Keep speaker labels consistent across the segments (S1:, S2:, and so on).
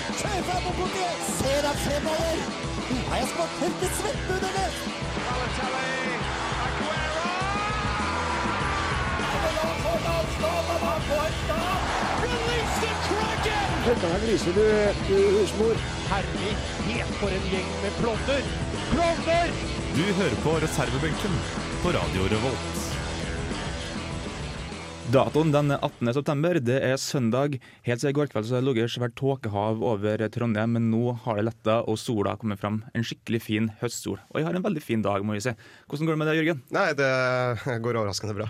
S1: på bordet. Ser at Fred er der. Nå har jeg spart 50 svettbudene.
S2: Balotelli, Aguero! Release the Kraken!
S3: Herlig. Helt for en gjeng med klovner! Klovner!
S4: Du hører på reservebenken på Radio Revolt.
S5: Datoen den er 18. september, det er søndag. Helt siden i går kveld så har det ligget et svært tåkehav over Trondheim, men nå har det letta og sola har kommet fram. En skikkelig fin høstsol. Og jeg har en veldig fin dag, må vi si. Hvordan går det med deg, Jørgen?
S6: Nei, det går overraskende bra.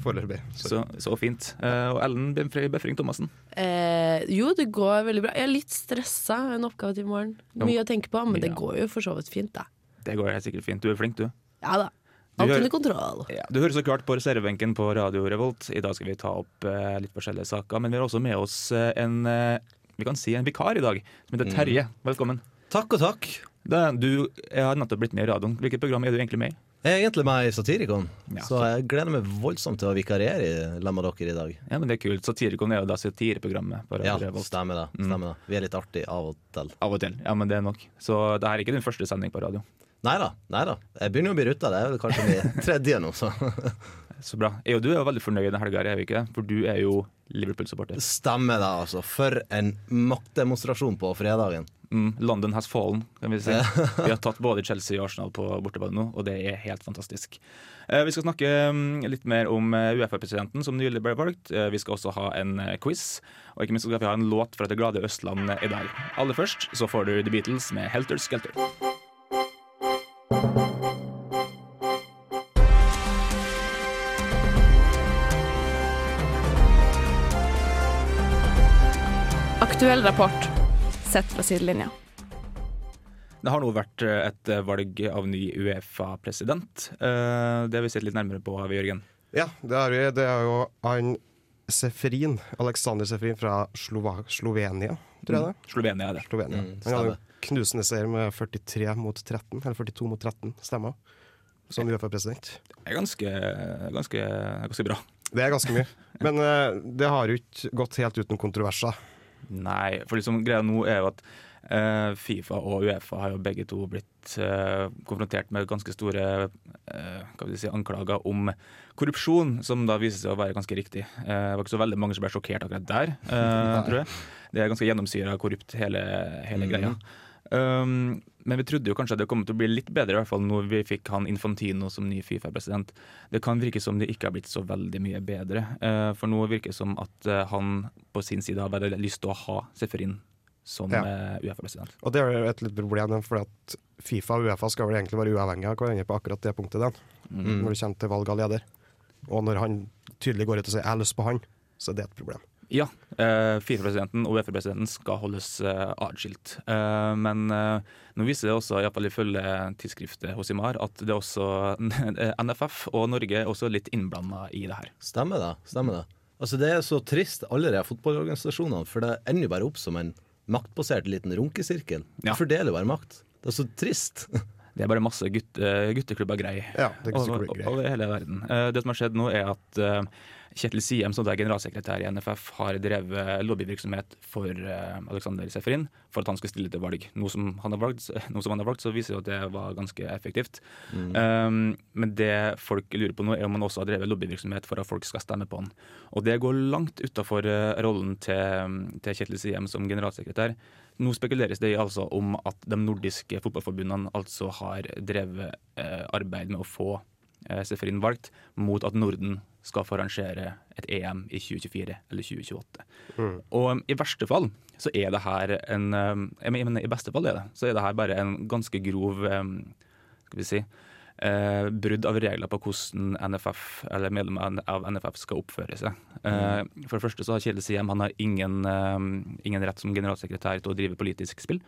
S6: Foreløpig. Så
S5: Så, så fint. Eh, og Ellen Befring Befring Thomassen.
S7: Eh, jo, det går veldig bra. Jeg er litt stressa. Jeg har En oppgave til i morgen. Mye å tenke på, men det
S5: Ja.
S7: går jo for så vidt fint, da.
S5: Det går helt sikkert fint. Du er flink, du.
S7: Ja da.
S5: Du
S7: Alt
S5: gjør-
S7: under kontroll.
S5: Du hører så klart på reservebenken på Radio Revolt. I dag skal vi ta opp eh, litt forskjellige saker, men vi har også med oss eh, en eh, vi kan si en vikar i dag, som heter Terje. Velkommen.
S8: Takk og takk.
S5: Mm. Det, du jeg har nettopp blitt med i radioen. Hvilket program er du egentlig med i?
S8: Jeg er egentlig med i Satirikon,
S5: Ja,
S8: så jeg gleder meg voldsomt til å vikariere i lag med dere i dag.
S5: Ja, men det er kult. Satirikon er jo da satireprogrammet. på
S8: Ja,
S5: Radio Revolt. Mm.
S8: stemmer det. stemmer det Vi er litt artige av og til.
S5: Av og til. Ja, men det er nok. Så det her er ikke din første sending på radio.
S8: Nei da. nei da Jeg begynner jo å bli ruta. Det er vel kanskje min tredje nå, så.
S5: Så bra. Jeg og du er jo veldig fornøyd denne helga, er vi ikke det? For du er jo Liverpool-supporter.
S8: Stemmer det, altså. For en maktdemonstrasjon på fredagen.
S5: Mm, London has fallen, kan vi si. Vi har tatt både Chelsea og Arsenal på bortebane nå, og det er helt fantastisk. Eh, Vi skal snakke mm, litt mer om eh, Uefa-presidenten som nylig ble valgt. Eh, Vi skal også ha en eh, quiz, og ikke minst skal vi ha en låt fra Det glade Østland eh, i dag. Aller først så får du The Beatles med Helter Skelter.
S9: Aktuell rapport sett fra sidelinja.
S5: Det har nå vært eh, et eh, valg av ny Uefa-president. Eh, Det har vi sett litt nærmere på, har vi, Jørgen.
S6: ja, det er, vi. det er jo han Sefrin, Aleksander Sefrin fra Slova Slovenia, tror jeg det. er.
S5: Slovenia er det.
S6: Slovenia.
S8: Mm,
S6: han hadde
S8: stemmer.
S6: en knusende seier med 43 mot 13, eller 42 mot 13 stemmer, som Uefa-president.
S5: Det er ganske, ganske, ganske bra.
S6: Det er ganske mye. Men eh, det har jo ikke gått helt uten kontroverser.
S5: Nei, for liksom greia nå er jo at eh, Fifa og Uefa har jo begge to blitt eh, konfrontert med ganske store eh, hva vil jeg si, anklager om korrupsjon, som da viser seg å være ganske riktig. Eh, det var ikke så veldig mange som ble sjokkert akkurat der, eh, tror jeg. Det er ganske gjennomsyra korrupt, hele, hele greia. Um, men vi trodde jo kanskje at det kom til å bli litt bedre, i hvert fall når vi fikk han Infantino som ny Fifa-president. Det kan virke som det ikke har blitt så veldig mye bedre. eh, for nå virker det som at eh, han på sin side har veldig lyst til å ha Seferin som
S6: Ja.
S5: eh, Uefa-president.
S6: Og det er jo et litt problem, for at Fifa og Uefa skal vel egentlig være uavhengige av hverandre på akkurat det punktet, den,
S5: Mm.
S8: Mm.
S6: når det kommer til valg av leder. Og når han tydelig går ut og sier 'jeg har lyst på han', så er det et problem.
S5: Ja, eh, Fifa-presidenten og Uefa-presidenten skal holdes eh, atskilt. Eh, men eh, nå viser det også, iallfall ifølge tidsskriftet Hosimar, at det er også NFF og Norge er også litt innblanda i det her.
S8: Stemmer det. stemmer det Altså Det er så trist, alle de fotballorganisasjonene, for det ender jo bare opp som en maktbasert liten runkesirkel.
S5: Ja.
S8: De fordeler jo bare makt. Det er så trist.
S5: Det er bare masse gutt, eh, gutteklubber-greier.
S6: Ja, det er
S5: over,
S6: gutteklubber-greier.
S5: over hele verden. Eh, det som har skjedd nå, er at eh, Kjetil Siem, som er generalsekretær i NFF, har drevet eh, lobbyvirksomhet for eh, Alexander Seferin for at han skulle stille til valg. Nå som han har valgt, nå som han har valgt så viser det at det var ganske effektivt.
S6: Mm.
S5: Eh, men det folk lurer på nå, er om han også har drevet lobbyvirksomhet for at folk skal stemme på han. Og det går langt utafor eh, rollen til, til Kjetil Siem som generalsekretær. Nå spekuleres det i altså om at de nordiske fotballforbundene altså har drevet eh, arbeid med å få eh, Seferin valgt, mot at Norden skal få arrangere et EM i 2024 eller 2028. Og um, i verste fall så er det her en um, Jeg mener, i beste fall er det, så er det her bare en ganske grov um, Skal vi si eh, brudd av regler på hvordan NFF, eller medlemmer av NFF skal oppføre seg. Eh, for det første så har Kjell Siem han har ingen, eh, ingen rett som generalsekretær til å drive politisk spill.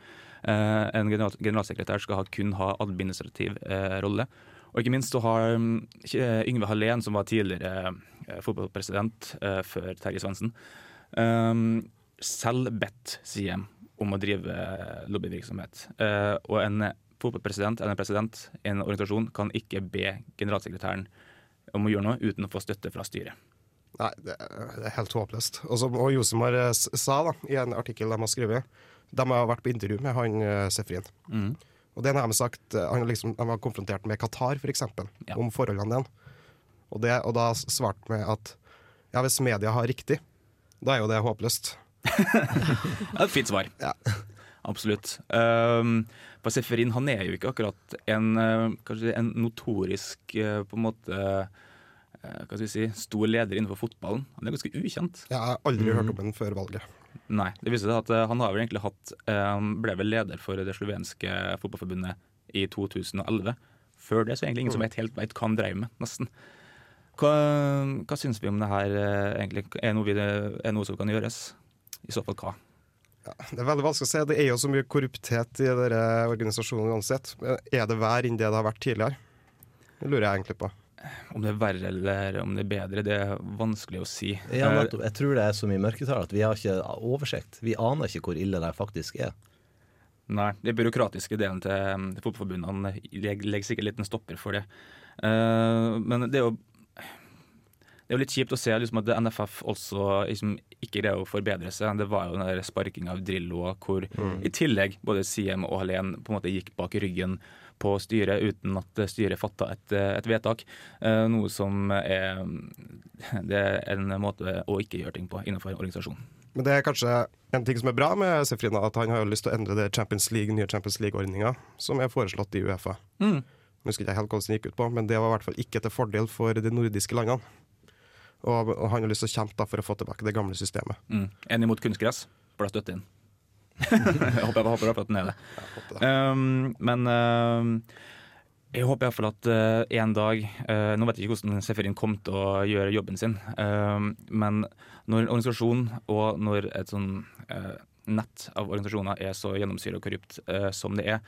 S5: Eh, en general, generalsekretær skal ha, kun ha administrativ eh, rolle. Og ikke minst så har mm, Kje- Yngve Hallén, som var tidligere eh, fotballpresident eh, før Terje Svendsen, um, selv bedt Siem om å drive lobbyvirksomhet. Eh, og en fotballpresident eller en president i en organisasjon kan ikke be generalsekretæren om å gjøre noe uten å få støtte fra styret.
S6: Nei, det er det er helt håpløst. Og som også Josemar eh, s- sa da, i en artikkel de har skrevet, De har vært på intervju med han eh, Sefrin.
S5: Mm.
S6: Og det har de sagt eh, han har liksom, De var konfrontert med Qatar, f.eks.,
S5: Ja.
S6: om forholdene der. Og, det, og da s- svarte med at ja, hvis media har riktig, da er jo det håpløst.
S5: Ja, et fint svar.
S6: Ja.
S5: Absolutt. Um, Seferin han er jo ikke akkurat en, eh, kanskje en notorisk eh, på en måte eh, hva skal vi si, stor leder innenfor fotballen. Han er ganske ukjent.
S6: Jeg har aldri
S5: Mm.
S6: hørt om den før valget.
S5: Nei, det viser seg at eh, han har vel egentlig hatt eh, ble vel leder for det slovenske fotballforbundet i 2011. Før det så er det egentlig ingen som vet helt vet hva han drev med, nesten. Hva, hva syns vi om det her eh, egentlig? Er det noe, vi, er det noe som kan gjøres? I så fall hva?
S6: Det er veldig vanskelig å si. Det er jo så mye korrupthet i denne organisasjonen uansett. Er det verre enn det det har vært tidligere? Det lurer jeg egentlig på.
S5: Om det er verre eller om det er bedre, det er vanskelig å si.
S8: Ja,
S5: Eh,
S8: nettopp. Jeg tror det er så mye mørketall at vi har ikke oversikt. Vi aner ikke hvor ille det faktisk er.
S5: Nei, Den byråkratiske delen til eh, fotballforbundene leg- legger sikkert litt en stopper for det. Eh, men det er jo det er jo litt kjipt å se liksom, at NFF også liksom, ikke greier å forbedre seg. Det var jo den der sparking av Drillo hvor i tillegg både Siem og Hallén på en måte gikk bak ryggen på styret uten at eh, styret fatta et, eh, et vedtak. Eh, noe som er Det er en måte å ikke gjøre ting på innenfor en organisasjon.
S6: Men det er kanskje en ting som er bra med Sefrina, at han har jo lyst til å endre det Champions League, nye Champions League-ordninga som er foreslått i Uefa.
S5: Mm.
S6: Jeg husker ikke helt hvordan den gikk ut på, men det var i hvert fall ikke til fordel for de nordiske landene. Og, og han har lyst til å kjempe da, for å få tilbake det gamle systemet.
S5: Mm. En imot kunstgress, for da støtter inn. jeg håper jeg håper i hvert fall at den er det. Um, men um, jeg håper iallfall at uh, en dag uh, Nå vet jeg ikke hvordan Seferin kom til å gjøre jobben sin, um, men når en organisasjon og når et sånn uh, nett av organisasjoner er så gjennomsyra og korrupt uh, som det er,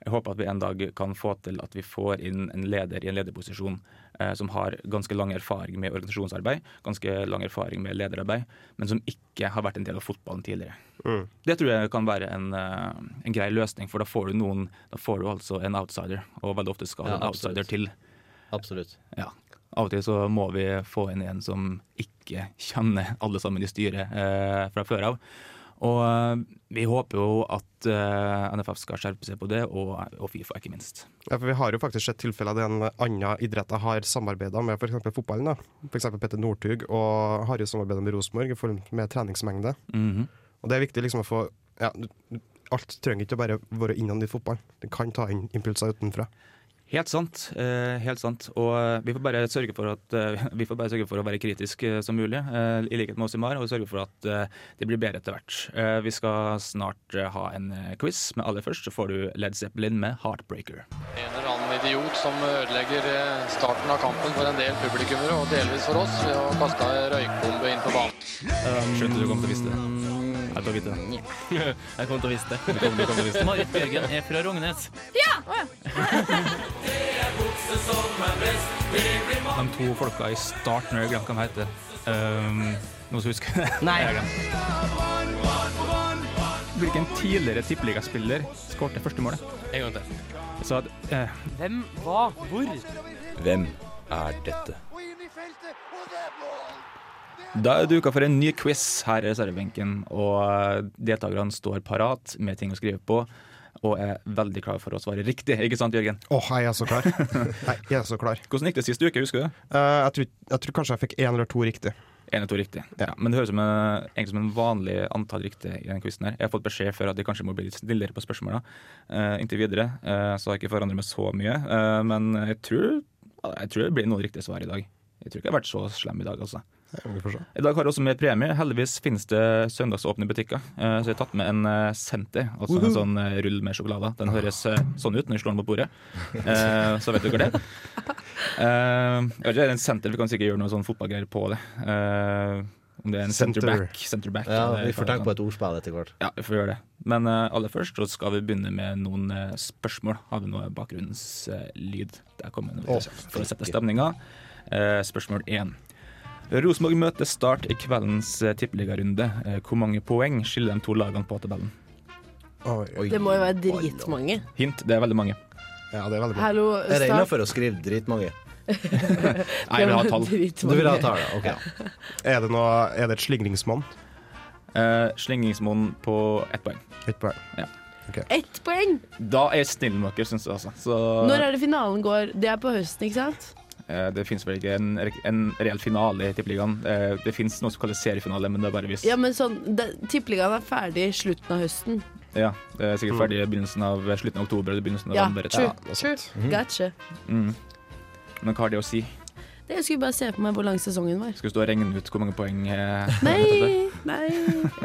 S5: jeg håper at vi en dag kan få til at vi får inn en leder i en lederposisjon eh, som har ganske lang erfaring med organisasjonsarbeid, ganske lang erfaring med lederarbeid, men som ikke har vært en del av fotballen tidligere. Det tror jeg kan være en, eh, en grei løsning, for da får du noen Da får du altså en outsider, og veldig ofte skal
S8: Ja,
S5: en outsider
S8: absolutt.
S5: til.
S8: Absolutt.
S5: Ja. Av og til så må vi få inn en som ikke kjenner alle sammen i styret eh, fra før av. Og eh, vi håper jo at eh, NFF skal skjerpe seg på det, og, og Fifa ikke minst.
S6: Ja, for Vi har jo faktisk sett tilfeller der en annen idrett har samarbeida med f.eks. fotballen. da. For eksempel Petter Northug og har jo samarbeida med Rosenborg i form med treningsmengde.
S5: Mhm.
S6: Og det er viktig liksom å få ja, du- du- Alt trenger ikke bare være innad i fotballen. Du kan ta inn impulser utenfra.
S5: Helt sant. eh, helt sant. Og eh, vi får bare sørge for, at, eh, vi får bare sørge for å være kritisk eh, som mulig, eh, i likhet med oss i MAR, og sørge for at eh, det blir bedre etter hvert. Eh, vi skal snart eh, ha en eh, quiz, men aller først så får du Led Zeppelin med 'Heartbreaker'.
S10: En eller annen idiot som ødelegger eh, starten av kampen for en del publikummere, og delvis for oss, ved å kaste ei røykbombe inn på banen.
S5: Skjønte du kom til å vite det. Jeg til å vite det.
S11: Mm, Jeg kommer til å vise det. Marit Bjørgen er fra Rognes.
S5: De to folka i starten, jeg glemte hva de heter. Um, noen som husker det?
S11: Nei.
S5: Jeg har glemt. Hvilken tidligere tippeligaspiller skårte første målet?
S11: En gang til.
S5: Så at, eh,
S11: Hvem, hva, hvor?
S8: Hvem er dette?
S5: Da er det uka for en ny quiz her i reservebenken. Og eh, deltakerne står parat med ting å skrive på. Og er veldig klare for å svare riktig. Ikke sant, Jørgen?
S6: Åh, jeg er så klar. Nei, jeg er så klar.
S5: Hvordan gikk det sist uke? Husker du det?
S6: Eh, jeg, tror, jeg tror kanskje jeg fikk én eller to riktig.
S5: En eller to riktig. Ja, men det høres som en, egentlig som en vanlig antall riktig i den quizen her. Jeg har fått beskjed før at jeg kanskje må bli litt snillere på spørsmåla. inntil videre eh, så har jeg ikke forandret meg så mye. Eh, men jeg tror, jeg tror det blir noen riktige svar i dag. Jeg tror ikke jeg har vært så slem i dag, altså.
S6: Vi får se.
S5: I dag har jeg også med premie. Heldigvis finnes det søndagsåpne butikker. Eh, Så jeg har tatt med en eh, Senter, altså en sånn eh, rull med sjokolade. Den høres eh, sånn ut når du slår den på bordet. Eh, Så vet du hva det er. Eh, Jeg vet ikke, en Senter, vi kan sikkert gjøre noe sånn fotballgreier på det. Eh, Om det er en
S6: Senter.
S5: centerback. centerback
S8: Ja,
S5: eller
S8: Vi
S5: hva
S8: får
S5: det er
S8: tenke på et ordspill etter hvert.
S5: ja, vi får gjøre det. Men eh, aller først så skal vi begynne med noen eh, spørsmål. Har vi noe bakgrunnslyd? Der kommer det
S6: Å,
S5: altså, for å sette stemninga. Eh, spørsmål én. Rosenborg møter Start i kveldens uh, tippeligarunde. Eh, hvor mange poeng skiller de to lagene på tabellen?
S6: Oi.
S7: Det må jo være dritmange.
S5: Hint, det er veldig mange.
S6: Ja, det er veldig bra.
S7: Hallo,
S8: Er det
S7: start.
S8: innafor å skrive dritmange?
S5: Nei, vi har tall.
S8: Du vil ha tall, ja. Ok.
S6: Er det, noe, er det et slingringsmonn?
S5: Eh, Slengingsmonn på ett poeng.
S6: Ett poeng.
S5: Ja.
S7: Ett poeng!
S5: Da er jeg snill med dere, syns jeg. Altså. Så,
S7: Når er det finalen går? Det er på høsten, ikke sant?
S5: eh, det finnes vel ikke en, en reell finale i Tippeligaen. Eh, det finnes noe som kalles seriefinale, men det er bare hvis.
S7: Ja, men sånn, det- Tippeligaen er ferdig i slutten av høsten.
S5: Ja, det er
S8: Mm.
S5: sikkert ferdig i begynnelsen av eh, slutten av oktober eller begynnelsen av
S7: Ja,
S5: november.
S7: true.
S5: Ja,
S7: true. Gotcha.
S5: Mm. Men hva har det å si?
S7: Det jeg skulle bare se for meg hvor lang sesongen var.
S5: Skal vi stå og regne ut hvor mange poeng eh,
S7: Nei, nei.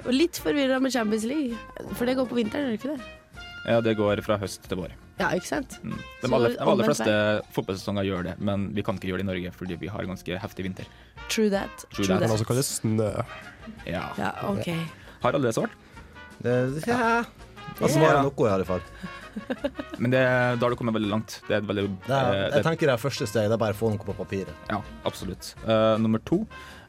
S7: Og litt forvirra med Champions League. For det går på vinteren, gjør det ikke det?
S5: Ja, det går fra høst til vår.
S7: Ja, ikke sant?
S5: Mm. De
S7: Så
S5: aller, de aller
S7: omvendt
S5: fleste fotballsesonger gjør det, men vi kan ikke gjøre det i Norge fordi vi har en ganske heftig vinter.
S7: True that.
S5: True
S7: True,
S5: that.
S7: that.
S6: Men også kalles snø.
S5: Ja.
S7: Ja, OK.
S5: Har alle det svart?
S8: Det- Ja. Altså, var det noe, i alle fall.
S5: Men det, da har du kommet veldig langt. Det er et veldig
S8: Det er,
S5: eh,
S8: jeg tenker det er første steg. Det er bare å få noe på papiret.
S5: Ja, absolutt. Eh, nummer to.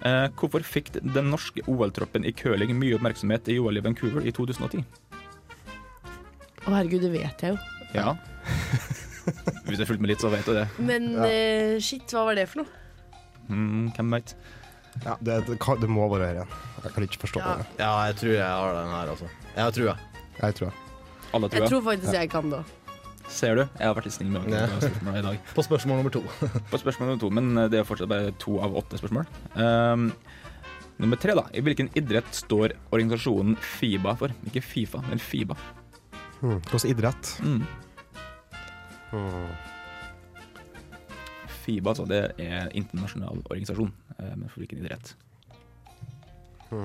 S5: Eh, hvorfor fikk den norske OL-troppen i curling mye oppmerksomhet i OL i Vancouver i 2010?
S7: Å herregud, det vet jeg jo.
S5: Ja. Hvis du har fulgt med litt, så vet du det.
S7: Men eh, shit, hva var det for noe?
S5: Mm, hvem vet?
S6: Ja, det, det, kan- det må være her igjen. Jeg kan ikke forstå det.
S8: Ja, jeg tror jeg har den her, altså. Jeg har trua.
S6: Jeg tror det.
S5: Alle
S7: Jeg
S5: tror jeg.
S7: tror faktisk jeg kan det òg.
S5: Ser du? Jeg har vært litt snill med dere på spørsmålene i dag.
S8: På spørsmål nummer to.
S5: På spørsmål nummer to, men eh, det er fortsatt bare to av åtte spørsmål. Ehm, nummer tre, da. I hvilken idrett står organisasjonen FIBA for? Ikke Fifa, men FIBA.
S6: Hmm. Hvordan idrett?
S5: Mm.
S6: Hmm.
S5: FIBA, altså. Det er internasjonal organisasjon, eh, men for hvilken idrett?
S6: Ja,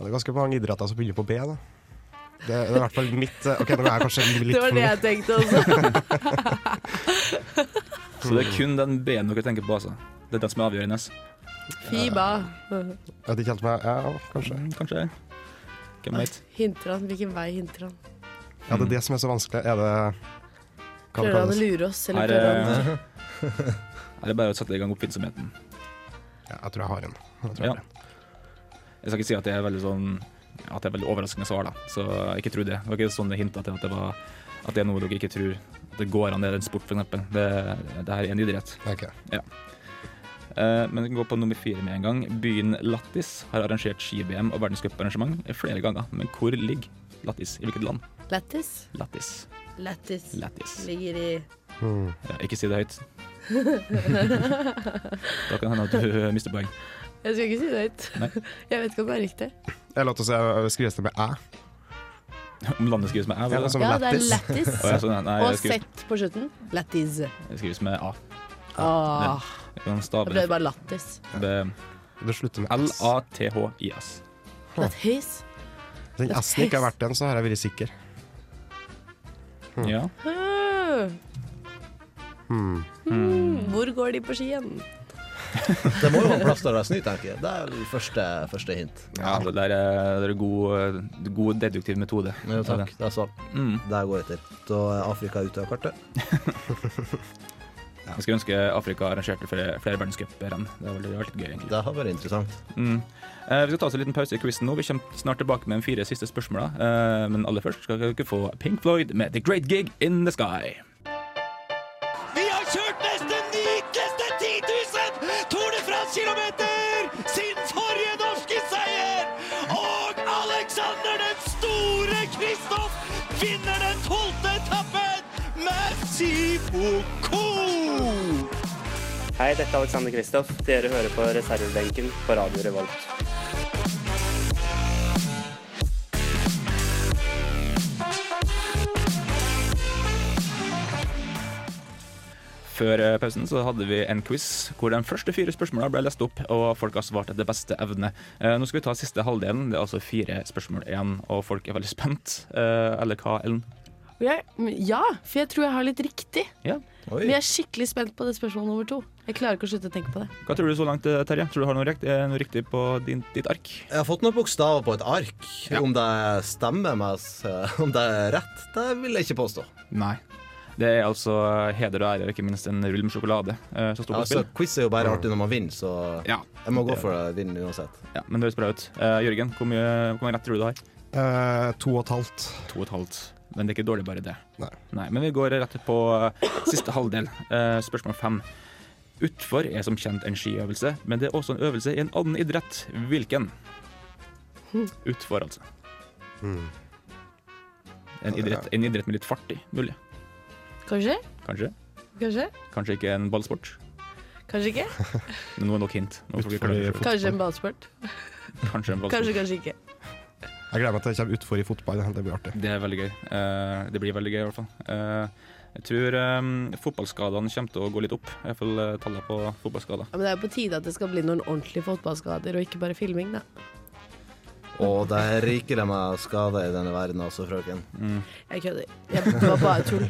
S6: det er ganske mange idretter som begynner på B, da. Det, det er i hvert fall mitt eh, OK, nå er jeg kanskje litt
S7: Det var
S6: for
S7: det
S6: mye.
S7: jeg tenkte også.
S5: Så det er kun den B-en dere tenker på, altså. Det er den som er avgjørende.
S7: Fiba.
S6: Jeg vet ikke helt om jeg Ja, kanskje.
S5: Mm, Kanskje. Hvem vet.
S7: Hinter han? Hvilken vei hinter han?
S6: Ja, det er det som er så vanskelig. Er det Hva det
S7: Prøver han å
S6: kalles?
S7: lure oss, eller
S5: Her
S7: prøver han
S5: eh, her er det bare å sette i gang oppfinnsomheten.
S6: Ja, jeg tror jeg har en. Jeg tror
S5: Ja.
S6: jeg har en.
S5: Jeg skal ikke si at det er veldig sånn At det er veldig overraskende svar, da. Så ikke tro det. Det var ikke sånn det hinta til at det var At det er noe dere ikke tror. At det går an, det er en sport, for eksempel. Det, det her er en idrett.
S6: Ok.
S5: Eh, men vi kan gå på nummer fire med en gang. Byen Lattis har arrangert ski-VM og verdenscuparrangement flere ganger. Men hvor ligger Lattis? I hvilket land?
S7: Lattis?
S5: Lattis.
S7: Lattis.
S5: Lattis.
S7: Ligger i
S5: Ja, ikke si det høyt. da kan det hende at du mister poeng.
S7: Jeg skal ikke si det høyt. Jeg vet ikke om det er riktig.
S6: Jeg lot oss eh, skrives det med æ.
S5: Om landet skrives med æ, var
S6: Ja,
S5: det? sånn
S6: som
S7: Ja, det er
S6: lættis.
S7: lattis.
S5: Å, ja, sånn, nei,
S7: Og
S5: det skrives,
S7: sett på slutten. Lattis.
S5: det skrives med a.
S7: Åh,
S5: Vi kan
S7: da
S5: stave
S7: ble
S5: Ah. det.
S7: det bare lattis.
S5: Det-
S6: Det slutter med S.
S5: L-A-T-H-I-S.
S7: Lattis.
S6: Den S-en ikke har vært den, så har jeg vært sikker.
S5: Ja.
S7: Hmm.
S6: Hmm.
S7: Hvor går de på skien?
S8: Det må jo være plass til å være sny, tenker jeg. Det er vel første, første hint.
S5: ja det der er, det er god, eh, god deduktiv metode.
S8: Jo, takk. Det er svar.
S5: Mm.
S8: Der går jeg til. Da er Afrika ute av kartet.
S5: Jeg skulle ønske Afrika arrangerte flere, flere verdenscuprenn. Det hadde vel vært litt gøy, egentlig.
S8: Det har vært interessant.
S5: Mm. Eh, vi skal ta oss en liten pause i quizen nå. Vi kommer snart tilbake med de fire siste spørsmåla. Eh, men aller først skal dere få Pink Floyd med The Great Gig In The Sky.
S2: Vi har kjørt nesten likeste 10 000 Tour de France-kilometer siden forrige norske seier! Og Alexander den store Kristoff vinner den tolvte etappen med Siboko!
S12: Hei, dette er Alexander Kristoff. Dere hører på reservebenken på Radio Revolt.
S5: Før eh, pausen så hadde vi en quiz hvor de første fire spørsmåla ble lest opp, og folk har svart etter beste evne. Eh, nå skal vi ta siste halvdelen. Det er altså fire spørsmål igjen, og folk er veldig spent. Eh, eller hva, Ellen?
S7: Jeg, ja, for jeg tror jeg har litt riktig.
S5: Ja.
S8: Oi.
S7: Men jeg er skikkelig spent på det spørsmålet nummer to. Jeg klarer ikke å slutte å tenke på det.
S5: Hva tror du så langt, eh, Terje? Tror du har noe riktig, noe riktig på din, ditt ark?
S8: Jeg har fått noen bokstaver på et ark. Om det stemmer med oss, om det er rett, det vil jeg ikke påstå.
S5: Nei. Det er altså heder og ære, og ikke minst en rull med sjokolade eh, som står på
S8: Altså,
S5: spill.
S8: quiz er jo bare artig når man vinner, så
S5: Ja.
S8: jeg må gå for å vinne uansett.
S5: ja, men det høres bra ut. Eh, Jørgen, hvor mye, hvor mange rett tror du du har?
S6: Eh, to og et halvt.
S5: To og et halvt. Men det er ikke dårlig, bare det.
S6: Nei.
S5: Men vi går rett på eh, siste halvdel. Eh, spørsmål fem. Utfor er som kjent en skiøvelse, men det er også en øvelse i en annen idrett. Hvilken? Utfor, altså.
S6: Mm.
S5: En, idrett, en idrett med litt fart i, mulig.
S7: Kanskje?
S5: Kanskje.
S7: Kanskje?
S5: Kanskje ikke en ballsport.
S7: Kanskje ikke?
S5: Men nå er nok hint. Nå får vi klare det selv.
S7: Kanskje en ballsport?
S5: Kanskje en
S7: Kanskje,
S5: ballsport.
S7: kanskje ikke.
S6: Jeg gleder meg til det kommer utfor i fotball. Det blir artig.
S5: Det er veldig gøy. Eh, det blir veldig gøy, i hvert fall. Eh, jeg tror eh, fotballskadene kommer til å gå litt opp. I hvert fall eh, tallet på fotballskader.
S7: Ja, men det er jo på tide at det skal bli noen ordentlige fotballskader, og ikke bare filming, da.
S8: Og der ryker de meg skade i denne verden, altså, frøken.
S5: Mm.
S7: Jeg kødder. Jeg- Det var bare tull.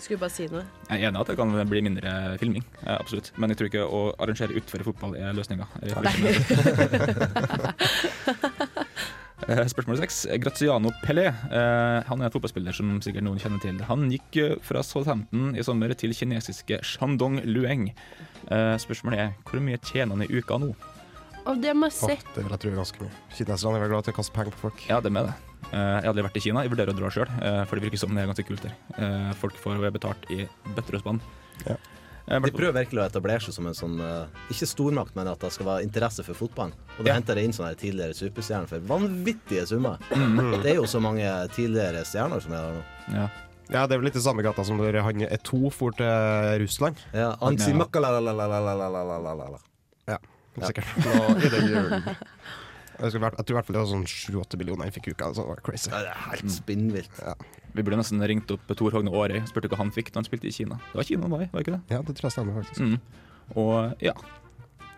S7: Jeg skulle bare si noe.
S5: Jeg er enig i at det kan bli mindre filming, eh, absolutt. Men jeg tror ikke å arrangere utfor i fotball er løsninga. Eh, Spørsmål seks. Graziano Pelé. eh, Han er en fotballspiller som sikkert noen kjenner til. Han gikk eh, fra Southampton i sommer til kinesiske Shandong Lueng. Eh, Spørsmålet er hvor mye tjener han i uka nå?
S7: Og det må jeg se.
S6: Det vil jeg tro er ganske mye. Kineserne er vel glad til å kaste penger på folk.
S5: Ja, det med det. Eh, Jeg har aldri vært i Kina, jeg vurderer å dra sjøl, for det virker som det er ganske kult der. Eh, Folk får betalt i bøtter og spann. Eh,
S8: De prøver virkelig å etablere seg som en sånn eh, Ikke stormakt, men at det skal være interesse for fotballen. Og da henter de inn sånne her tidligere superstjerner for vanvittige summer.
S6: Mm.
S8: Det er jo så mange tidligere stjerner som er der nå.
S5: Ja.
S6: det er vel litt i samme gata som når han er to for til Russland.
S8: Ja, Ansi Makalalalalalalalala.
S6: Ja, sikkert. Nå i den julen. Jeg, skulle vært, jeg tror i hvert fall det var sånn 7-8 millioner jeg fikk i uka. Så det var crazy.
S8: Ja, det er helt spinnvilt.
S5: Vi burde nesten ringt opp Tor Hogne Aarøy og spurt hva han fikk da han spilte i Kina. Det var Kina han var i, var det ikke det?
S6: Ja, det tror jeg stemmer, faktisk.
S5: Mm. Og ja,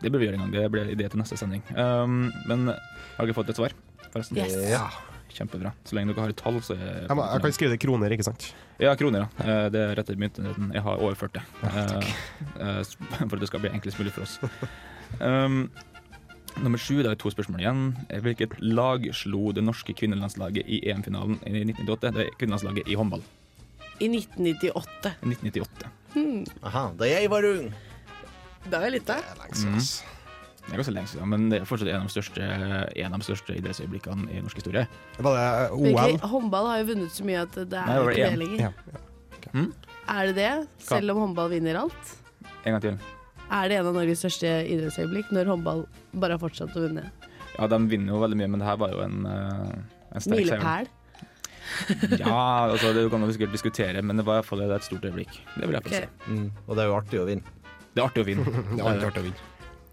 S5: det burde vi gjøre en gang. Det ble idé til neste sending. Um, men har dere fått et svar, forresten?
S6: Yes. Ja.
S5: Kjempebra. Så lenge dere har et tall, så er
S6: Jeg, må, jeg kan skrive det i kroner, ikke sant?
S5: Ja, kroner, ja. Eh, Det er rett i myntenheten. Jeg har overført det. Eh, eh, For at det skal bli enklest mulig for oss. Um, nummer sju, da er det to spørsmål igjen. Eh, Hvilket lag slo det norske kvinnelandslaget i EM-finalen i 1998? Det er kvinnelandslaget i håndball.
S7: I 1998.
S5: i 1998.
S7: Hmm.
S8: Aha, da jeg var ung.
S7: Det er jo litt, da.
S5: Mm. Det er ganske lenge siden, men det er fortsatt en av de største, en av de største idrettsøyeblikkene i norsk historie.
S6: Var det
S7: Virkelig, håndball har jo vunnet så mye at det er
S5: Nei, det var
S7: ikke det
S5: EM.
S7: lenger.
S5: Hm?
S7: Er det det? Selv om håndball vinner alt?
S5: En gang til.
S7: Er det en av Norges største idrettsøyeblikk når håndball bare har fortsatt å vinne?
S5: Ja, de vinner jo veldig mye, men det her var jo en, eh, en sterk seier.
S7: Milepæl?
S5: Ja, altså, det kan man sikkert diskutere, men det var i hvert fall det er et stort øyeblikk. Det vil jeg okay.
S7: Ok.
S5: si.
S8: Mm. Og det er jo artig å vinne.
S5: Det er artig å vinne.
S6: Det er alltid artig å vinne.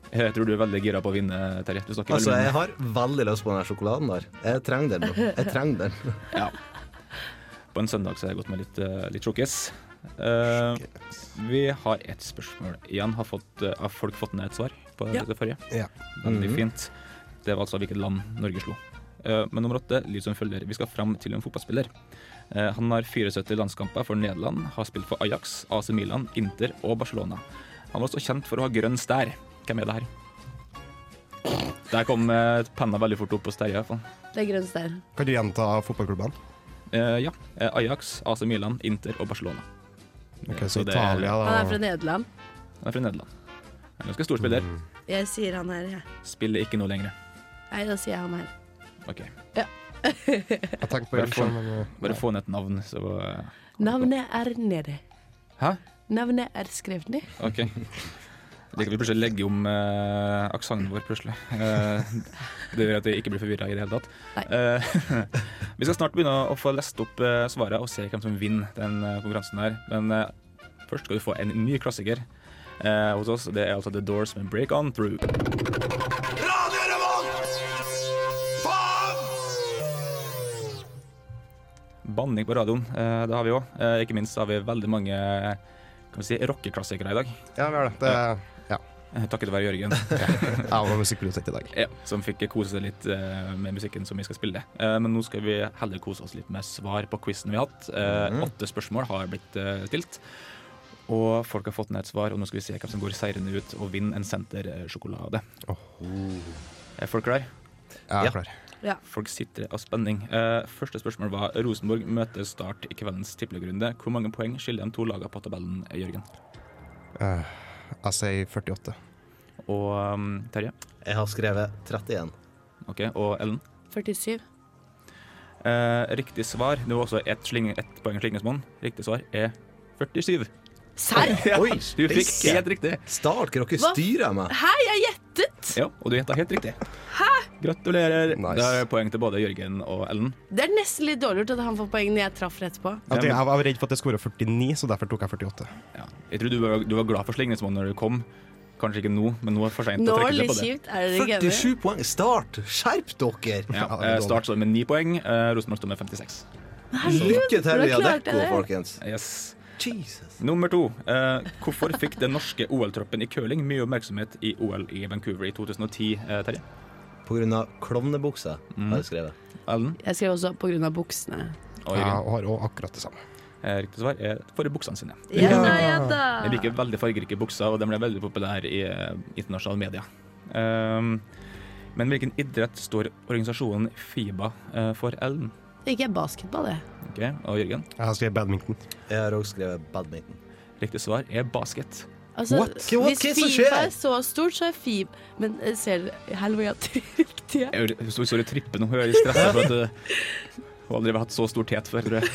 S5: Jeg tror du er veldig gira på å vinne, Terje. Du snakker
S8: Altså,
S5: veldig mye.
S8: jeg har veldig lyst på den her sjokoladen der. Jeg trenger den nå. Jeg trenger den.
S5: På en søndag så har jeg gått med litt, eh, litt sjokkis. Eh, vi har et spørsmål igjen. Har, fått, eh, har folk fått ned et svar på
S7: Ja.
S5: det forrige?
S6: Ja.
S5: Veldig
S8: Mhm.
S5: fint. Det var altså hvilket land Norge slo. Eh, men nummer åtte lyd som følger. Vi skal fram til en fotballspiller. Eh, han har 74 landskamper for Nederland, har spilt for Ajax, AC Milan, Inter og Barcelona. Han var også kjent for å ha grønn stær. Hvem er det her? Der kom eh, penna veldig fort opp hos Terje. i hvert fall.
S7: Det er grønt der.
S6: Kan du gjenta fotballklubben?
S5: Eh, ja. Eh, Ajax, AC Milan, Inter og Barcelona.
S6: Ok,
S5: Eh,
S6: så
S5: det-
S6: Italia,
S7: Han er
S6: da.
S7: fra Nederland.
S5: Han er fra Nederland. En ganske stor spiller.
S7: Jeg sier han her, jeg.
S5: Spiller ikke noe lenger.
S7: Nei, da sier jeg han her.
S5: OK.
S6: Jeg tenkte på
S5: Bare få,
S6: Irland, men eh,
S5: bare få ned et navn, så eh,
S7: Navnet er nede.
S5: Hæ?
S7: Navnet er skrevet ned.
S5: OK. Det kan vi plutselig legge om uh, aksenten vår, plutselig. Eh, det gjør at vi ikke blir forvirra i det hele tatt. Eh, vi skal snart begynne å få lest opp eh, svarene og se hvem som vinner den eh, konkurransen her. Men eh, først skal du få en ny klassiker eh, hos oss. Det er altså The Doors med Break On Through.
S2: Radio Revolt! Faen!
S5: Banning på radioen, eh, det har vi òg. Eh, ikke minst har vi veldig mange kan vi si, rockeklassikere i dag.
S6: Ja, vi har det. det ja.
S5: Eh, Takket være Jørgen.
S6: Jeg var musikkprodusent i dag.
S5: Ja, som fikk kose seg litt eh, med musikken som vi skal spille. Eh, men nå skal vi heller kose oss litt med svar på quizen vi har hatt. Eh, Åtte spørsmål har blitt eh, stilt. Og folk har fått ned et svar, og nå skal vi se hvem som går seirende ut og vinner en sentersjokolade. Er folk klare?
S6: Jeg
S8: Ja.
S6: er klar.
S7: Ja.
S5: Folk sitter av spenning. Eh, første spørsmål var Rosenborg møter Start i kveldens tippelugrunde. Hvor mange poeng skiller de to lagene på tabellen, Jørgen?
S6: Eh, Jeg sier 48.
S5: Og um, Terje?
S8: Jeg har skrevet 31.
S5: Ok, Og Ellen?
S7: 47.
S5: Eh, riktig svar Det var også ett, sling, ett poeng slingringsmonn. Riktig svar er 47.
S7: Serr?
S8: Oi,
S5: Du fikk helt riktig.
S8: Stark, dere
S7: Hva?
S8: styrer meg.
S7: Hæ, jeg gjettet!
S5: Ja, og du gjetta helt riktig. Gratulerer. Det er poeng til både Jørgen og Ellen.
S7: Det er nesten litt dårlig gjort at han får poeng når jeg traff rett på.
S6: Jeg, jeg var redd for at jeg skåra 49, så derfor tok jeg 48.
S5: Jeg tror du var, du var glad for slingringsmål når du kom. Kanskje ikke nå, men nå er det for seint å
S7: Nå
S5: trekke deg
S7: litt
S5: på det.
S7: kjipt, er dere ikke
S8: 47
S7: enige?
S8: poeng. Start! Skjerp dere!
S5: Ja, eh, start står med 9 poeng. eh, Rosenborg står med 56.
S8: Lykke til,
S7: hvordan klarte
S8: Viadecco,
S7: dere?
S8: folkens.
S5: Yes.
S8: Jesus.
S5: Nummer to. Eh, hvorfor fikk den norske OL-troppen i curling mye oppmerksomhet i OL i Vancouver i 2010, eh, Terje?
S8: På grunn av klovnebuksa
S5: Mm.
S8: har jeg skrevet.
S5: Ellen?
S7: Jeg skrev også på grunn av buksene.
S5: Og
S6: Jeg
S5: Jørgen?
S6: har òg akkurat det samme.
S5: Eh, Riktig svar er for buksene sine.
S7: Ja da, ja da.
S5: Jeg liker veldig fargerike bukser, og de ble veldig populære i eh, internasjonale media. Ehm, men hvilken idrett står organisasjonen FIBA eh, for, Ellen?
S7: Det gikk jeg basketball, det.
S5: Ok, Og Jørgen?
S6: Jeg har skrevet badminton.
S8: Jeg har òg skrevet badminton.
S5: Riktig svar er basket.
S7: Altså,
S8: What? Hva- hva er
S7: Hvis
S8: det som skjer?
S7: FIFA er så stort, så er FIB Men eh, ser dere Helvete, riktige.
S5: Jeg hører- står står og tripper nå. Jeg er litt stressa for at eh, hun aldri har hatt så stor tet før. tror jeg.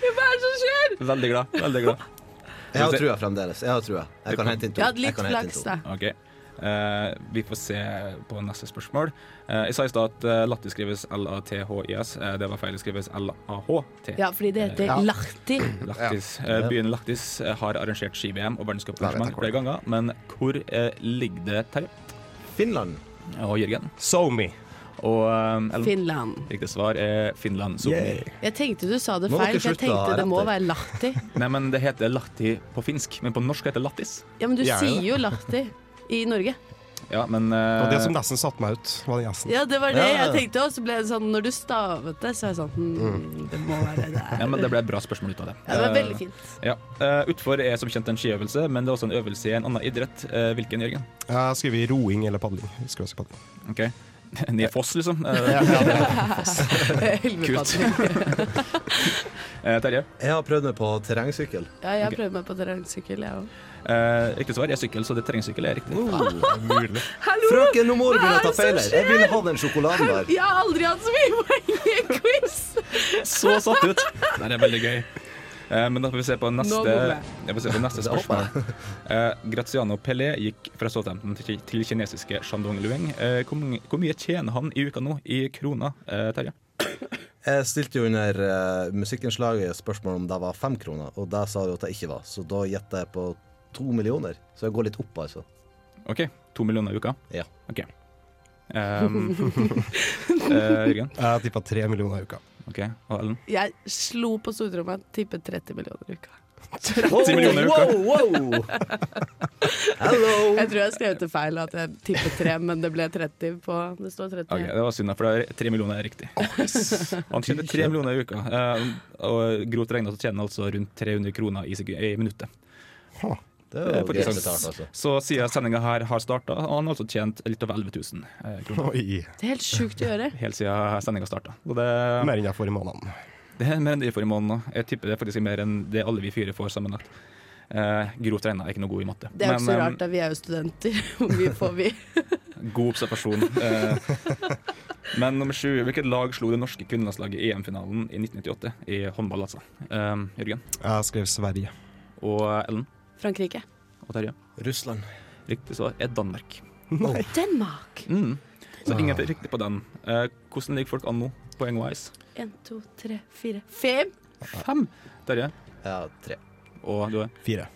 S7: Hva er det som skjer?
S5: Veldig glad. veldig glad.
S8: Jeg har trua fremdeles. Jeg har trua. Jeg kan hente inn to.
S7: Jeg hadde
S8: Jeg
S7: litt
S8: kan hente inn
S7: flaks,
S8: to.
S7: da.
S5: Ok. Eh, vi får se på neste spørsmål. Eh, jeg sa i stad at eh, Latti skrives L-A-T-H-I-S. Eh, det var feil. Det skrives L-A-H-T.
S7: Ja, fordi det heter
S5: Ja.
S7: Lahti.
S5: Laktis. Eh, Byen Laktis eh, har arrangert ski-VM og verdenscuparrangement flere ganger, men hvor eh, ligger det, Terje?
S8: Finland.
S5: Og Jørgen?
S6: So me.
S5: Og eh, Ellen?
S7: Finland.
S5: Riktig svar er Finland. Zoom.
S7: Jeg tenkte du sa det
S8: Nå må
S7: feil,
S8: dere
S7: for jeg
S8: slutte å ha
S7: tenkte det må
S8: rett
S7: være Lahti.
S5: Nei, men det heter Lahti på finsk, men på norsk heter det Lattis.
S7: Ja, men du
S6: Gjerne
S7: sier jo Lahti i Norge.
S5: Ja, men
S6: Det
S5: eh,
S6: var det som nesten satte meg ut. Var den gjesten.
S7: Ja, det var det
S8: Ja, ja.
S7: jeg tenkte også. Så ble det sånn, når du stavet det, så var jeg sånn hm, Det må være det der.
S5: ja, men det ble et bra spørsmål ut av det.
S7: Ja, det var
S5: Eh,
S7: veldig fint.
S5: ja. Eh, utfor er som kjent en skiøvelse, men det er også en øvelse i en annen idrett. Eh, hvilken, Jørgen?
S6: Jeg har skrevet roing eller padling. Jeg skulle også si padling.
S5: Ok. Ned foss, liksom. Eh,
S7: Helvete.
S5: eh, Terje?
S8: Jeg har prøvd meg på terrengsykkel.
S7: Ja, jeg prøvde meg på terrengsykkel, jeg òg.
S5: Eh, riktig svar er sykkel, så det terrengsykkel er riktig.
S8: Frøken, nå må du
S7: Hva er
S8: begynne å ta
S7: det
S8: feil
S7: som
S8: her. Jeg ville ha den sjokoladen der.
S7: Jeg har aldri hatt så mye poeng i en quiz!
S5: Så satt ut! Nei, det er veldig gøy. Eh, Men da får vi se på
S7: Nå
S5: neste,
S7: googler jeg.
S5: jeg får se på neste spørsmål. Eh, Graziano Pelé gikk fra Southampton til, til kinesiske Shandong Lueng. Eh, Hvor, mange- hvor mye tjener han i uka nå, i kroner, eh, Terje?
S8: Jeg stilte jo under eh, musikkinnslaget spørsmål om det var fem kroner, og det sa du at det ikke var, så da gjetter jeg på to millioner. Så jeg går litt opp, altså.
S5: OK, to millioner i uka?
S8: Ja.
S5: OK. Um, eh, Jørgen?
S6: Jeg tippa tre millioner i uka.
S5: OK. Og Ellen?
S7: Jeg slo på stortromma, tippet 30 millioner i uka.
S5: 10 millioner i uka.
S7: Jeg tror jeg skrev det feil, at jeg tippet 3, men det ble 30 på Det står 30.
S5: Ok, det var synd, da, for det er tre millioner er riktig. Han tjener tre millioner i uka, eh, og grovt regna så tjener han altså rundt 300 kroner i, sek- i minuttet.
S8: Det
S5: Det er
S8: er jo
S5: faktisk
S8: greit
S5: sant.
S8: betalt, altså.
S5: Eh, Så siden sendinga her har starta, har han altså tjent litt over 11 000 eh, kroner.
S6: Oi.
S7: Det er helt sjukt å gjøre.
S5: Helt siden sendinga starta. Og det,
S6: Mer enn jeg får i måneden.
S5: det er mer enn de får i måneden nå. Jeg tipper det er faktisk mer enn det alle vi fire får sammenlagt. Eh, grovt regna er ikke noe god i matte.
S7: Det er jo ikke så
S5: eh,
S7: rart, da. Vi er jo studenter. Hvor mye får vi?
S5: God observasjon. Eh, Men nummer sju, hvilket lag slo det norske kvinnelandslaget i EM-finalen i 1998? I håndball, altså. Eh, Jørgen
S6: Jeg skrev Sverige.
S5: og Ellen
S7: Frankrike.
S5: og Terje.
S8: Russland.
S5: Riktig svar er Danmark.
S7: Danmark.
S5: Mm.
S7: Ah.
S5: Så ingen fikk riktig på den. Eh, hvordan ligger folk an nå, poengwise?
S7: 1, 2, 3, 4, 5.
S5: Fem. Terje.
S8: Ja, tre.
S5: Og du er
S6: Fire.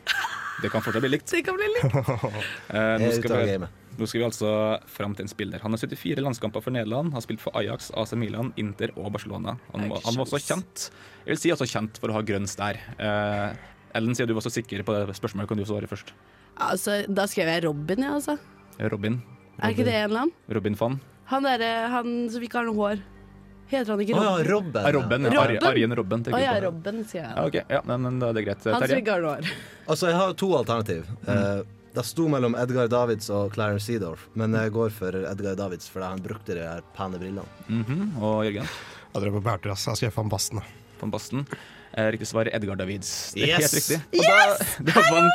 S5: Det kan fortsatt bli likt.
S7: Det kan bli litt
S5: Eh, nå,
S8: Jeg er ute
S5: skal
S8: av
S5: vi,
S8: gamet.
S5: nå skal vi altså fram til en spiller. Han har 74 landskamper for Nederland, har spilt for Ajax, AC Milan, Inter og Barcelona. Han, var- han var også kjent Jeg vil si altså kjent for å ha grønn stær. Eh, Ellen, siden du var så sikker på det spørsmålet, kan du svare først. Eh,
S7: Altså, da skrev jeg Robin, jeg, ja, altså.
S5: Robin.
S7: Er ikke det en eller annen?
S5: Robin Fan.
S7: Han derre han som ikke har noe hår. Heter han ikke
S8: Å ja,
S7: Robin?
S8: Robben.
S5: Ah, Robben. Ja.
S7: Robben.
S5: Arjen- Arjen Robben. tenker
S7: Eh, Å ja,
S5: jeg på.
S7: Robben, sier jeg.
S5: Ja, ok. ja, men, men da er det greit.
S7: Han som
S5: Terje?
S7: ikke har noe hår.
S8: Altså, jeg har to alternativ. Eh, det sto mellom Edgar Davids og Clarence Seedorf, men jeg går for Edgar Davids fordi han brukte de her pene brillene.
S5: Mhm. Og Jørgen?
S6: Jeg drev på bærtur, ass. Jeg skrev Van Basten.
S5: Van Basten. Eh, Riktig svar er Edgar Davids. Det er
S8: Yes!
S5: helt riktig. Og da, da vant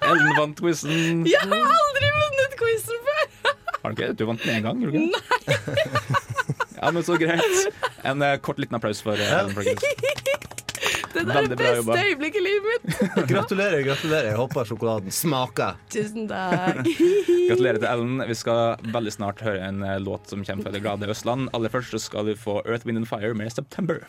S5: Ellen vant quizen.
S7: Jeg har aldri vunnet quizen før!
S5: Har du ikke? Du vant den én gang, gjorde du ikke? Nei. ja, men så greit. En eh, kort liten applaus for eh, Ellen. Brugge.
S7: Det Det er det beste øyeblikket i livet mitt!
S8: Gratulerer, gratulerer. Jeg håper sjokoladen smaker.
S7: Tusen takk.
S5: Gratulerer til Ellen. Vi skal veldig snart høre en eh, låt som kommer fra det glade Østland. Aller først så skal du få Earth, Wind and Fire med September.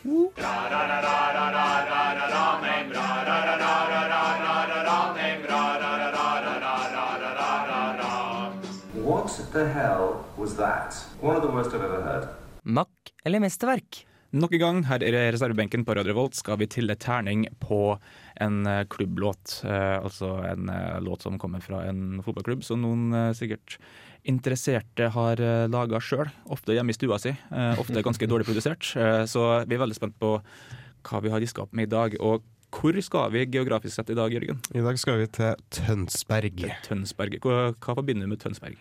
S13: What the hell was that? One of the worst I've ever heard.
S5: Makk eller mesterverk? Nok en gang, her i reservebenken på Radio Revolt skal vi til et terning på en eh, klubblåt. Eh, altså en eh, låt som kommer fra en fotballklubb som noen eh, sikkert interesserte har eh, laga sjøl. Ofte hjemme i stua si. Eh, ofte ganske dårlig produsert. Eh, så vi er veldig spent på hva vi har diska opp med i dag. Og hvor skal vi geografisk sett i dag, Jørgen?
S6: I dag skal vi til Tønsberg.
S5: Tønsberg. Hva, hva forbinder du med Tønsberg?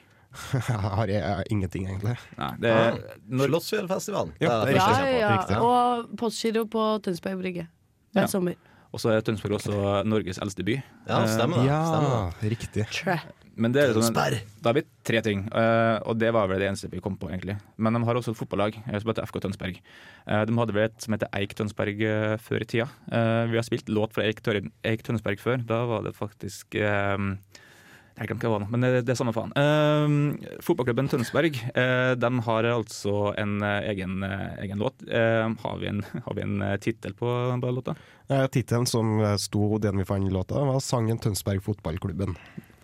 S6: Har jeg, jeg ingenting, egentlig.
S5: Nei, det er
S8: Slottsfjellfestivalen.
S6: Ja, det er
S7: Ja,
S6: riktig.
S7: ja.
S6: Riktig.
S7: Og Postgiro på Tønsberg Brygge.
S5: Ja.
S7: Hver sommer.
S5: Og så er Tønsberg også Norges eldste by.
S8: Ja, stemmer det.
S5: Eh,
S8: Stemmer det.
S6: Riktig.
S5: Men det er sånn,
S8: Tønsberg.
S5: da har vi tre ting, eh, og det var vel det eneste vi kom på, egentlig. Men de har også et fotballag eh, som heter FK Tønsberg. Eh, De hadde vel et som heter Eik Tønsberg eh, før i tida. Eh, Vi har spilt låt fra Eik, Tør Eik Tønsberg før. Da var det faktisk eh, jeg glemte hva det var nå, men det, det er samme faen. Eh, fotballklubben Tønsberg eh, de har altså en eh, egen, eh, egen låt. Eh, har vi en, har vi en eh, tittel på, på låta?
S6: Eh, Tittelen som eh, sto den vi fant i låta, var sangen 'Tønsberg fotballklubben'.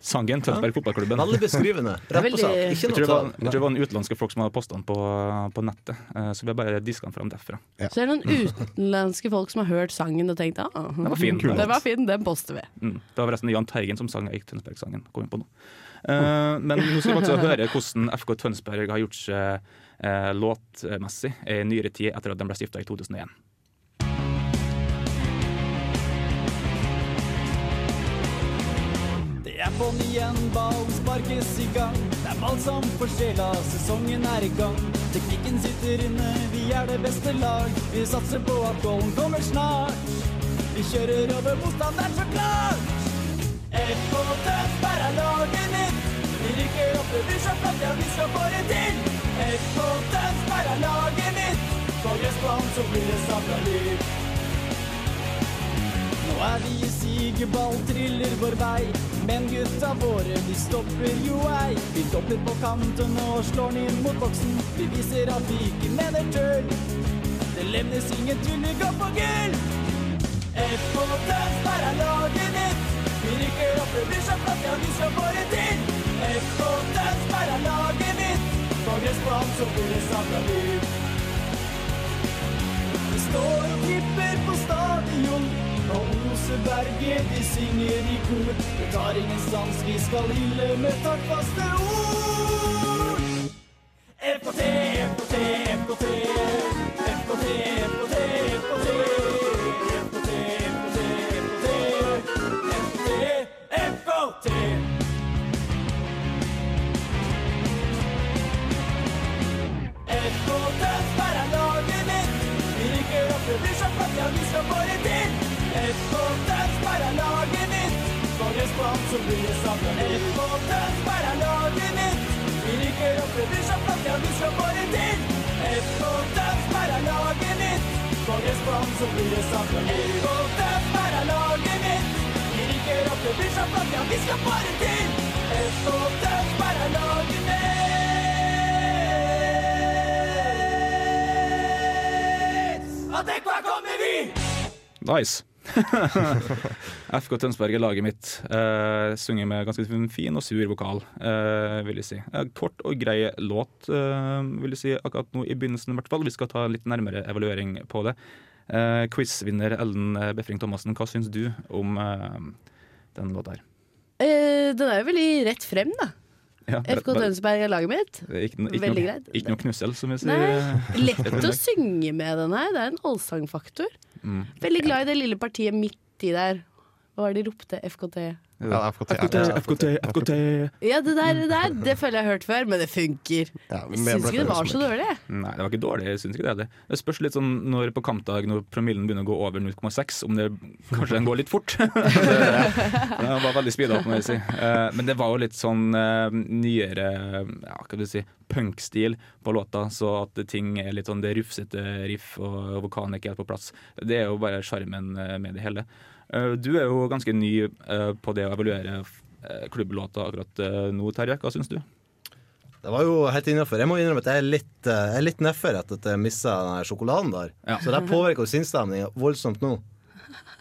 S5: Sangen Tønsberg fotballklubben.
S6: Veldig beskrivende. Rett på Veldig- sak. Ikke
S5: jeg
S6: noe
S5: tror, det var,
S6: tall.
S5: jeg tror det var en utenlandske folk som hadde postet den på, på nettet, eh, så vi har bare diska den fram derfra.
S7: Så er det noen utenlandske folk som har hørt sangen og tenkt ah, den
S5: var fin. Kul
S7: Den
S5: låt.
S7: var fin, den poster vi.
S5: Mm. Det var forresten Jahn Teigen som sang Eik Tønsberg-sangen. Kom inn på nå. Eh, men nå skal vi altså høre hvordan FK Tønsberg har gjort seg eh, låtmessig i nyere tid etter at de ble stifta i 2001.
S14: Det er på'n igjen, ballen sparkes i gang. Det er balsam for sjela, sesongen er i gang. Teknikken sitter inne, vi er det beste lag. Vi satser på at goalen kommer snart. Vi kjører over motstanderen så klart. FK Tønsberg er laget mitt. Vi rykker opp, det blir så flott, ja, vi skal få det til. FK Tønsberg er laget mitt. På gressbanen så blir det samla liv. Nå er vi i siget, ball triller vår vei. Men gutta våre, de stopper jo ei. Vi stopper på kanten og slår den inn mot boksen. Vi viser at vi ikke mener tull. Det levnes ingen tullekamp på gull. FK Tønsberg er laget ditt. Vi rykker opp, det blir så flott, ja, vi skal få det til. FK Tønsberg er laget ditt. På gressbanen så blir det samla liv. Vi står og klipper på stadion. Og Oseberget, de synger i kor. Det tar ingen sans, vi skal hylle med taktfaste ord. FKT, FKT, FKT. FKT, FKT, FKT. FKT, FKT, FKT. FKT, FKT. FK Tønsberg er laget mitt. Vi rykker opp, det blir så flott, ja, vi skal få det til. FK Tønsberg er laget mitt. For respons så blir det samla. FK Tønsberg er laget mitt. Vi rykker opp, det blir så flott, ja, vi skal få det til. FK Tønsberg er laget mitt. For respons så blir det samla. FK Tønsberg er laget mitt. Vi rykker opp, det blir så flott, ja, vi skal få det til. FK Tønsberg er laget mitt. Og tenk hva kommer vi!
S5: Nice! FK Tønsberg er laget mitt. Eh, synger med ganske fin og sur vokal, eh, vil jeg si. Eh, kort og grei låt, eh, vil jeg si akkurat nå i begynnelsen i hvert fall. Vi skal ta en litt nærmere evaluering på det. Eh, Quizvinner Ellen eh, Befring Thomassen, hva syns du om eh, den låta her?
S7: Eh, den er jo veldig rett frem, da.
S5: Ja,
S7: FK
S5: bare-
S7: Tønsberg er laget mitt.
S5: Det er Ikke, no- ikke,
S7: Veldig
S5: noe,
S7: greit.
S5: ikke noe knussel, som vi sier.
S7: Nei, lett å synge med den her. Det er en allsangfaktor.
S5: Mm.
S7: Veldig glad i det lille partiet midt i der. Hva var det de ropte? FKT?
S6: Ja, FKT.
S5: FKT, FKT.
S7: Ja, det
S5: Mm.
S7: der, det der det føler jeg har hørt før, men det funker.
S5: men
S7: jeg
S5: mer
S7: syns ikke det
S5: ble
S7: var
S5: det
S7: så
S5: som
S7: dårlig.
S5: Nei, det var ikke dårlig. jeg synes ikke Det heller. Det spørs litt sånn når på kampdag når promillen begynner å gå over 0,6, om det kanskje den går litt fort. det, det var veldig speeda opp, må jeg si. Eh, Men det var jo litt sånn eh, nyere ja, hva skal du si, punkstil på låta, så at ting er litt sånn det rufsete riff og vokanen er ikke helt på plass. Det er jo bare sjarmen eh, med det hele. Eh, Du er jo ganske ny eh, på det å evaluere eh, klubblåta akkurat eh, nå, Terje. Hva syns du?
S8: Det var jo helt innafor. Jeg må innrømme at jeg er litt, eh, jeg er litt nedfor etter at jeg mista sjokoladen der. Så det påvirker jo sinnsstemninga voldsomt nå.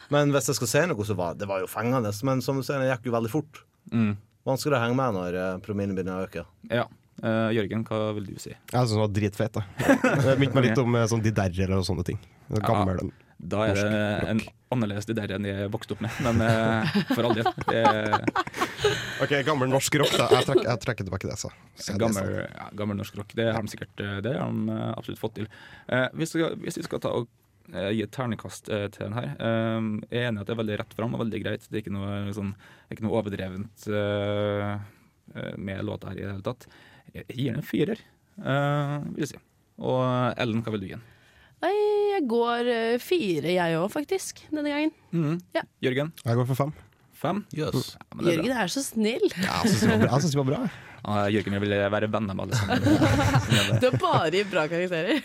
S8: Men hvis jeg skal si noe, så var det var jo fengende. Men som du sier, det gikk jo veldig fort.
S5: Mm.
S8: Vanskelig å henge med når eh, promillen begynner å øke.
S5: Ja. Eh, Jørgen, hva vil du si?
S6: Jeg syns den var dritfet. da. Det minte meg litt om eh, sånn de derrer og sånne ting. Det Gammel
S5: Da er det en annerledes det der enn jeg vokste opp med, men eh, for all del. Det er
S6: Ok, gammel norsk rock, da. Jeg trekker, jeg trekker tilbake det, altså. så. Så det er
S5: gammel,
S6: sant.
S5: ja, gammel norsk rock. Det har de sikkert eh, det har de eh, absolutt fått til. Eh, hvis, vi skal, hvis vi skal ta og eh, gi et ternekast eh, til den her eh, Jeg er enig i at det er veldig rett fram og veldig greit. Det er ikke noe, sånn, det er ikke noe overdrevent eh, eh, med låta her i det hele tatt. Jeg gir den en firer, eh, vil jeg si. Og eh, Ellen, hva vil du gi den?
S7: Nei, jeg går eh, fire, jeg òg, faktisk, denne gangen.
S5: Mhm.
S7: Ja.
S5: Jørgen?
S6: Jeg går for fem.
S5: Fem?
S8: Yes.
S5: Ja, men det er bra.
S7: Jørgen er så snill.
S6: Jeg syns det var bra.
S5: Ja, Jørgen jeg vil være venner med alle sammen.
S7: Du har bare gitt bra karakterer.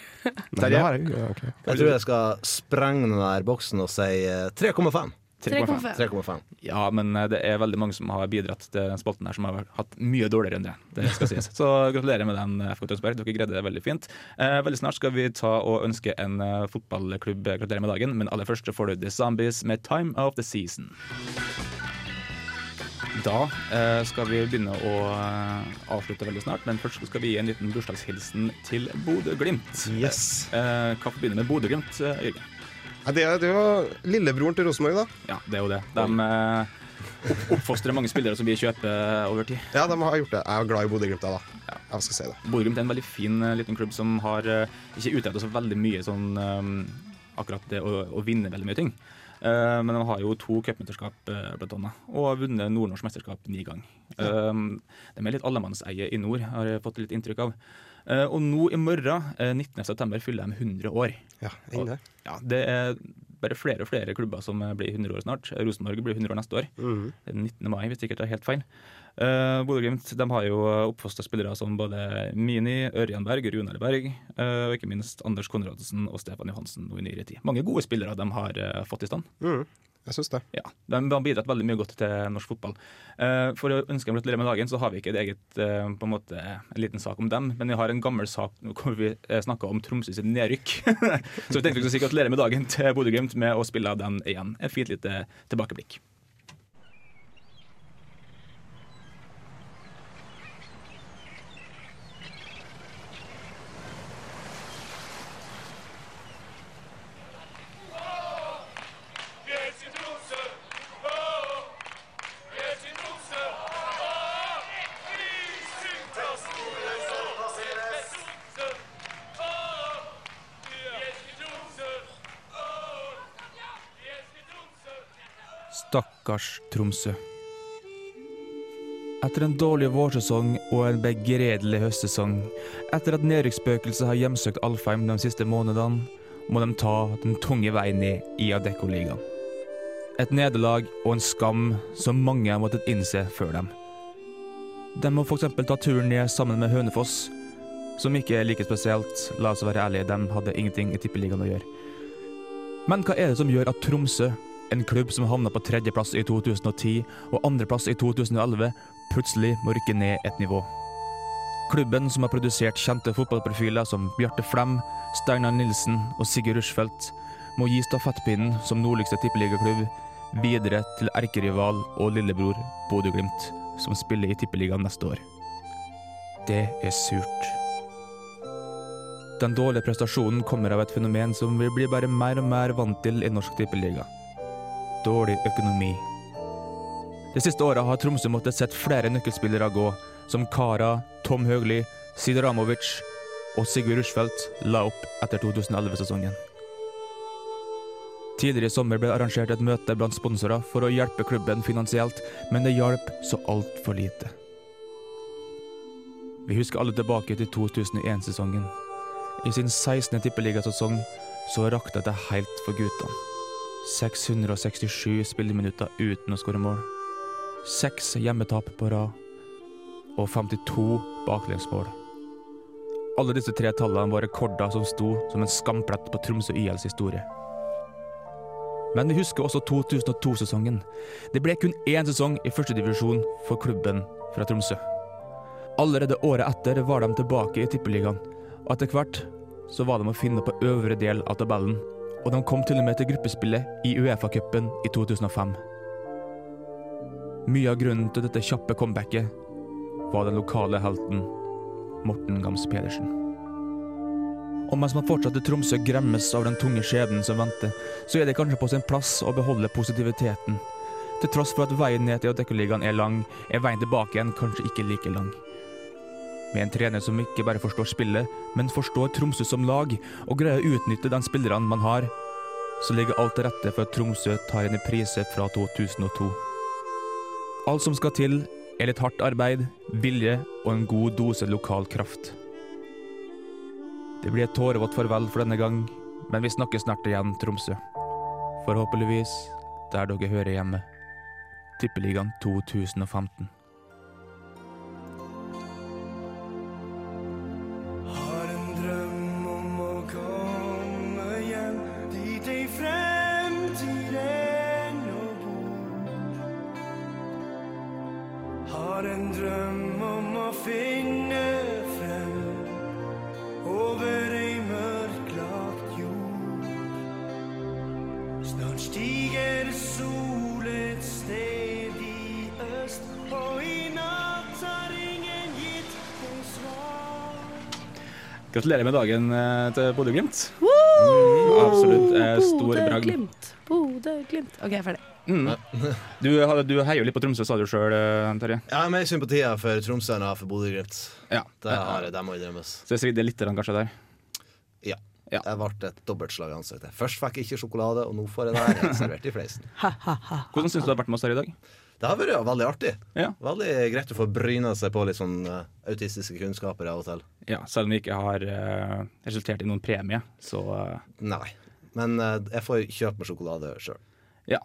S8: Terje?
S6: jeg,
S8: jeg tror jeg skal sprenge den der boksen og si eh, 3,5.
S7: 3,5.
S8: 3,5.
S5: Ja, men eh, det er veldig mange som har bidratt til den spalten her som har hatt mye dårligere enn det. Det skal sies. Så gratulerer med den, eh, FK Tønsberg. Dere greide det veldig fint. Eh, veldig snart skal vi ta og ønske en eh, fotballklubb gratulerer med dagen, men aller først så får du The Zombies med 'Time of the Season'. Da eh, skal vi begynne å eh, avslutte veldig snart, men først skal vi gi en liten bursdagshilsen til Bodø-Glimt.
S6: Yes.
S5: Eh, hva forbinder med Bodø-Glimt, eh, Jørgen?
S6: Nei, Det er det er jo lillebroren til Rosenborg, da.
S5: Ja, det er jo det. De eh, opp- oppfostrer mange spillere som vi kjøper over tid.
S6: Ja, de har gjort det. Jeg er glad i Bodø-Glimt, jeg, da. Jeg skal si det.
S5: Bodø-Glimt er en veldig fin eh, liten klubb som har eh, ikke utretta så veldig mye sånn eh, akkurat det å, å vinne veldig mye ting. Eh, men de har jo to cupmesterskap, eh, blant annet, og har vunnet nordnorsk mesterskap ni ganger. de er litt allemannseie i nord, har jeg fått litt inntrykk av. Eh, og nå i morgen, eh, 19.9, fyller de 100 år.
S6: Ja, inn der.
S5: ja, det er bare flere og flere klubber som eh, blir 100 år snart. Rosenborg blir 100 år neste år.
S6: Mhm.
S5: Den 19. mai, hvis ikke jeg tar helt feil. Uh, Bodø-Glimt de har jo oppfostra spillere som både Mini, Ørjan Berg, Runar Berg eh, og ikke minst Anders Konradsen og Stefan Johansen nå i nyere tid. Mange gode spillere de har eh, fått i stand.
S6: Mm, jeg syns det.
S5: Ja, De har bidratt veldig mye godt til norsk fotball. Eh, for å ønske dem gratulerer med dagen, så har vi ikke et eget, eh, på en måte, en liten sak om dem. Men vi har en gammel sak hvor vi eh, snakka om Tromsø sitt nedrykk. så vi tenkte vi skulle si gratulerer med dagen til Bodø-Glimt med å spille av den igjen. Et fint lite tilbakeblikk. Stakkars Tromsø. Etter en dårlig vårsesong og en begredelig høstsesong, etter at nedrykksspøkelset har hjemsøkt Alfheim de siste månedene, må de ta den tunge veien ned i Adeccoligaen. Et nederlag og en skam som mange har måttet innse før dem. De må f.eks. ta turen ned sammen med Hønefoss, som ikke er like spesielt, la oss være ærlige, de hadde ingenting i Tippeligaen å gjøre. Men hva er det som gjør at Tromsø, en klubb som havna på tredjeplass i 2010 og andreplass i 2011, plutselig må rykke ned et nivå? Klubben som har produsert kjente fotballprofiler som Bjarte Flem, Steinar Nilsen og Sigurd Rushfeldt, må gi stafettpinnen som nordligste tippeligaklubb videre til erkerival og lillebror Bodø-Glimt, som spiller i Tippeligaen neste år. Det er surt. Den dårlige prestasjonen kommer av et fenomen som vi blir bare mer og mer vant til i norsk tippeliga. Dårlig økonomi. De siste åra har Tromsø måttet sett flere nøkkelspillere gå, som Kara, Tom Høgli, Sid Ramovic og Sigurd Rushfeldt la opp etter 2011-sesongen. Tidligere i sommer ble det arrangert et møte blant sponsorer for å hjelpe klubben finansielt, men det hjalp så altfor lite. Vi husker alle tilbake til 2001-sesongen. I sin 16. tippeligasesong så rakte det helt for guttene. 667 spilleminutter uten å skåre mål. Seks hjemmetap på rad. Og 52 baklengsmål. Alle disse tre tallene var rekorder som sto som en skamplett på Tromsø ILs historie. Men vi husker også 2002-sesongen. Det ble kun én sesong i førstedivisjon for klubben fra Tromsø. Allerede året etter var de tilbake i Tippeligaen, og etter hvert så var de å finne på øvre del av tabellen, og de kom til og med til gruppespillet i Uefa-cupen i 2005. Mye av grunnen til dette kjappe comebacket var den lokale helten Morten Gams Pedersen. Og mens man fortsatt i Tromsø gremmes av den tunge skjebnen som venter, så er det kanskje på sin plass å beholde positiviteten. Til tross for at veien ned til Adeccoligaen er lang, er veien tilbake igjen kanskje ikke like lang. Med en trener som ikke bare forstår spillet, men forstår Tromsø som lag, og greier å utnytte de spillerne man har, så ligger alt til rette for at Tromsø tar en reprise fra 2002. Alt som skal til, er litt hardt arbeid, vilje og en god dose lokal kraft. Det blir et tårevått farvel for denne gang, men vi snakkes snart igjen, Tromsø. Forhåpentligvis der dere hører hjemme. Tippeligaen 2015.
S14: Har en drøm om å komme hjem dit i fremtiden å bo. Har en drøm om å finne frem over ei mørklagt jord. Snart stiger sol et sted i øst, og i natt har ingen gitt noe svar.
S5: Gratulerer med dagen eh, til Bodø-Glimt.
S7: Woo!
S5: Absolutt. eh, Stor
S7: Bodø,
S5: bragd.
S7: Glimt, Bodø, Glimt. OK, jeg er ferdig.
S5: Mm. Du, har- du heier jo litt på Tromsø, sa du sjøl, Terje.
S8: Jeg har mer sympatier for Tromsø enn jeg har for Bodø-Glimt.
S5: Ja.
S8: Det har jeg, det må innrømmes.
S5: Så jeg svidde litt grann, kanskje der.
S8: Ja. Jeg ble et dobbeltslag i ansiktet. Først fikk jeg ikke sjokolade, og nå får jeg det her helt servert i fleisen.
S5: Hvordan syns du det har vært med oss her i dag?
S8: Det har vært veldig artig.
S5: Ja.
S8: Veldig greit å få bryna seg på litt sånn eh, autistiske kunnskaper av og til.
S5: Ja, Selv om det ikke har eh, resultert i noen premie, så eh,
S8: Nei. Men eh, jeg får kjøpe meg sjokolade sjøl.
S5: ja.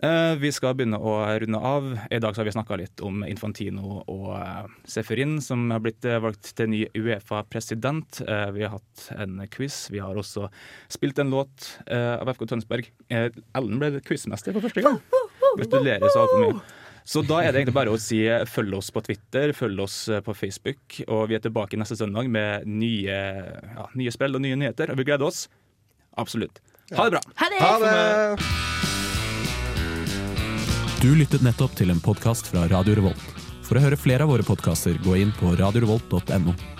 S5: Eh, vi skal begynne å runde av. I dag så har vi snakka litt om Infantino og eh, Seferin, som har blitt eh, valgt til ny Uefa-president. Eh, vi har hatt en quiz. Vi har også spilt en låt eh, av FK Tønsberg. Eh, Ellen ble quizmester for første gang. Gratulerer så altfor mye. Så da er det egentlig bare å si eh, følg oss på Twitter, følg oss eh, på Facebook. Og vi er tilbake neste søndag med nye, ja, nye spill og nye nyheter. Og vi gleder oss. Absolutt. Ha det bra.
S7: Ha det!
S15: Du lyttet nettopp til en podkast fra Radio Revolt. For å høre flere av våre podkaster, gå inn på radiorevolt.no.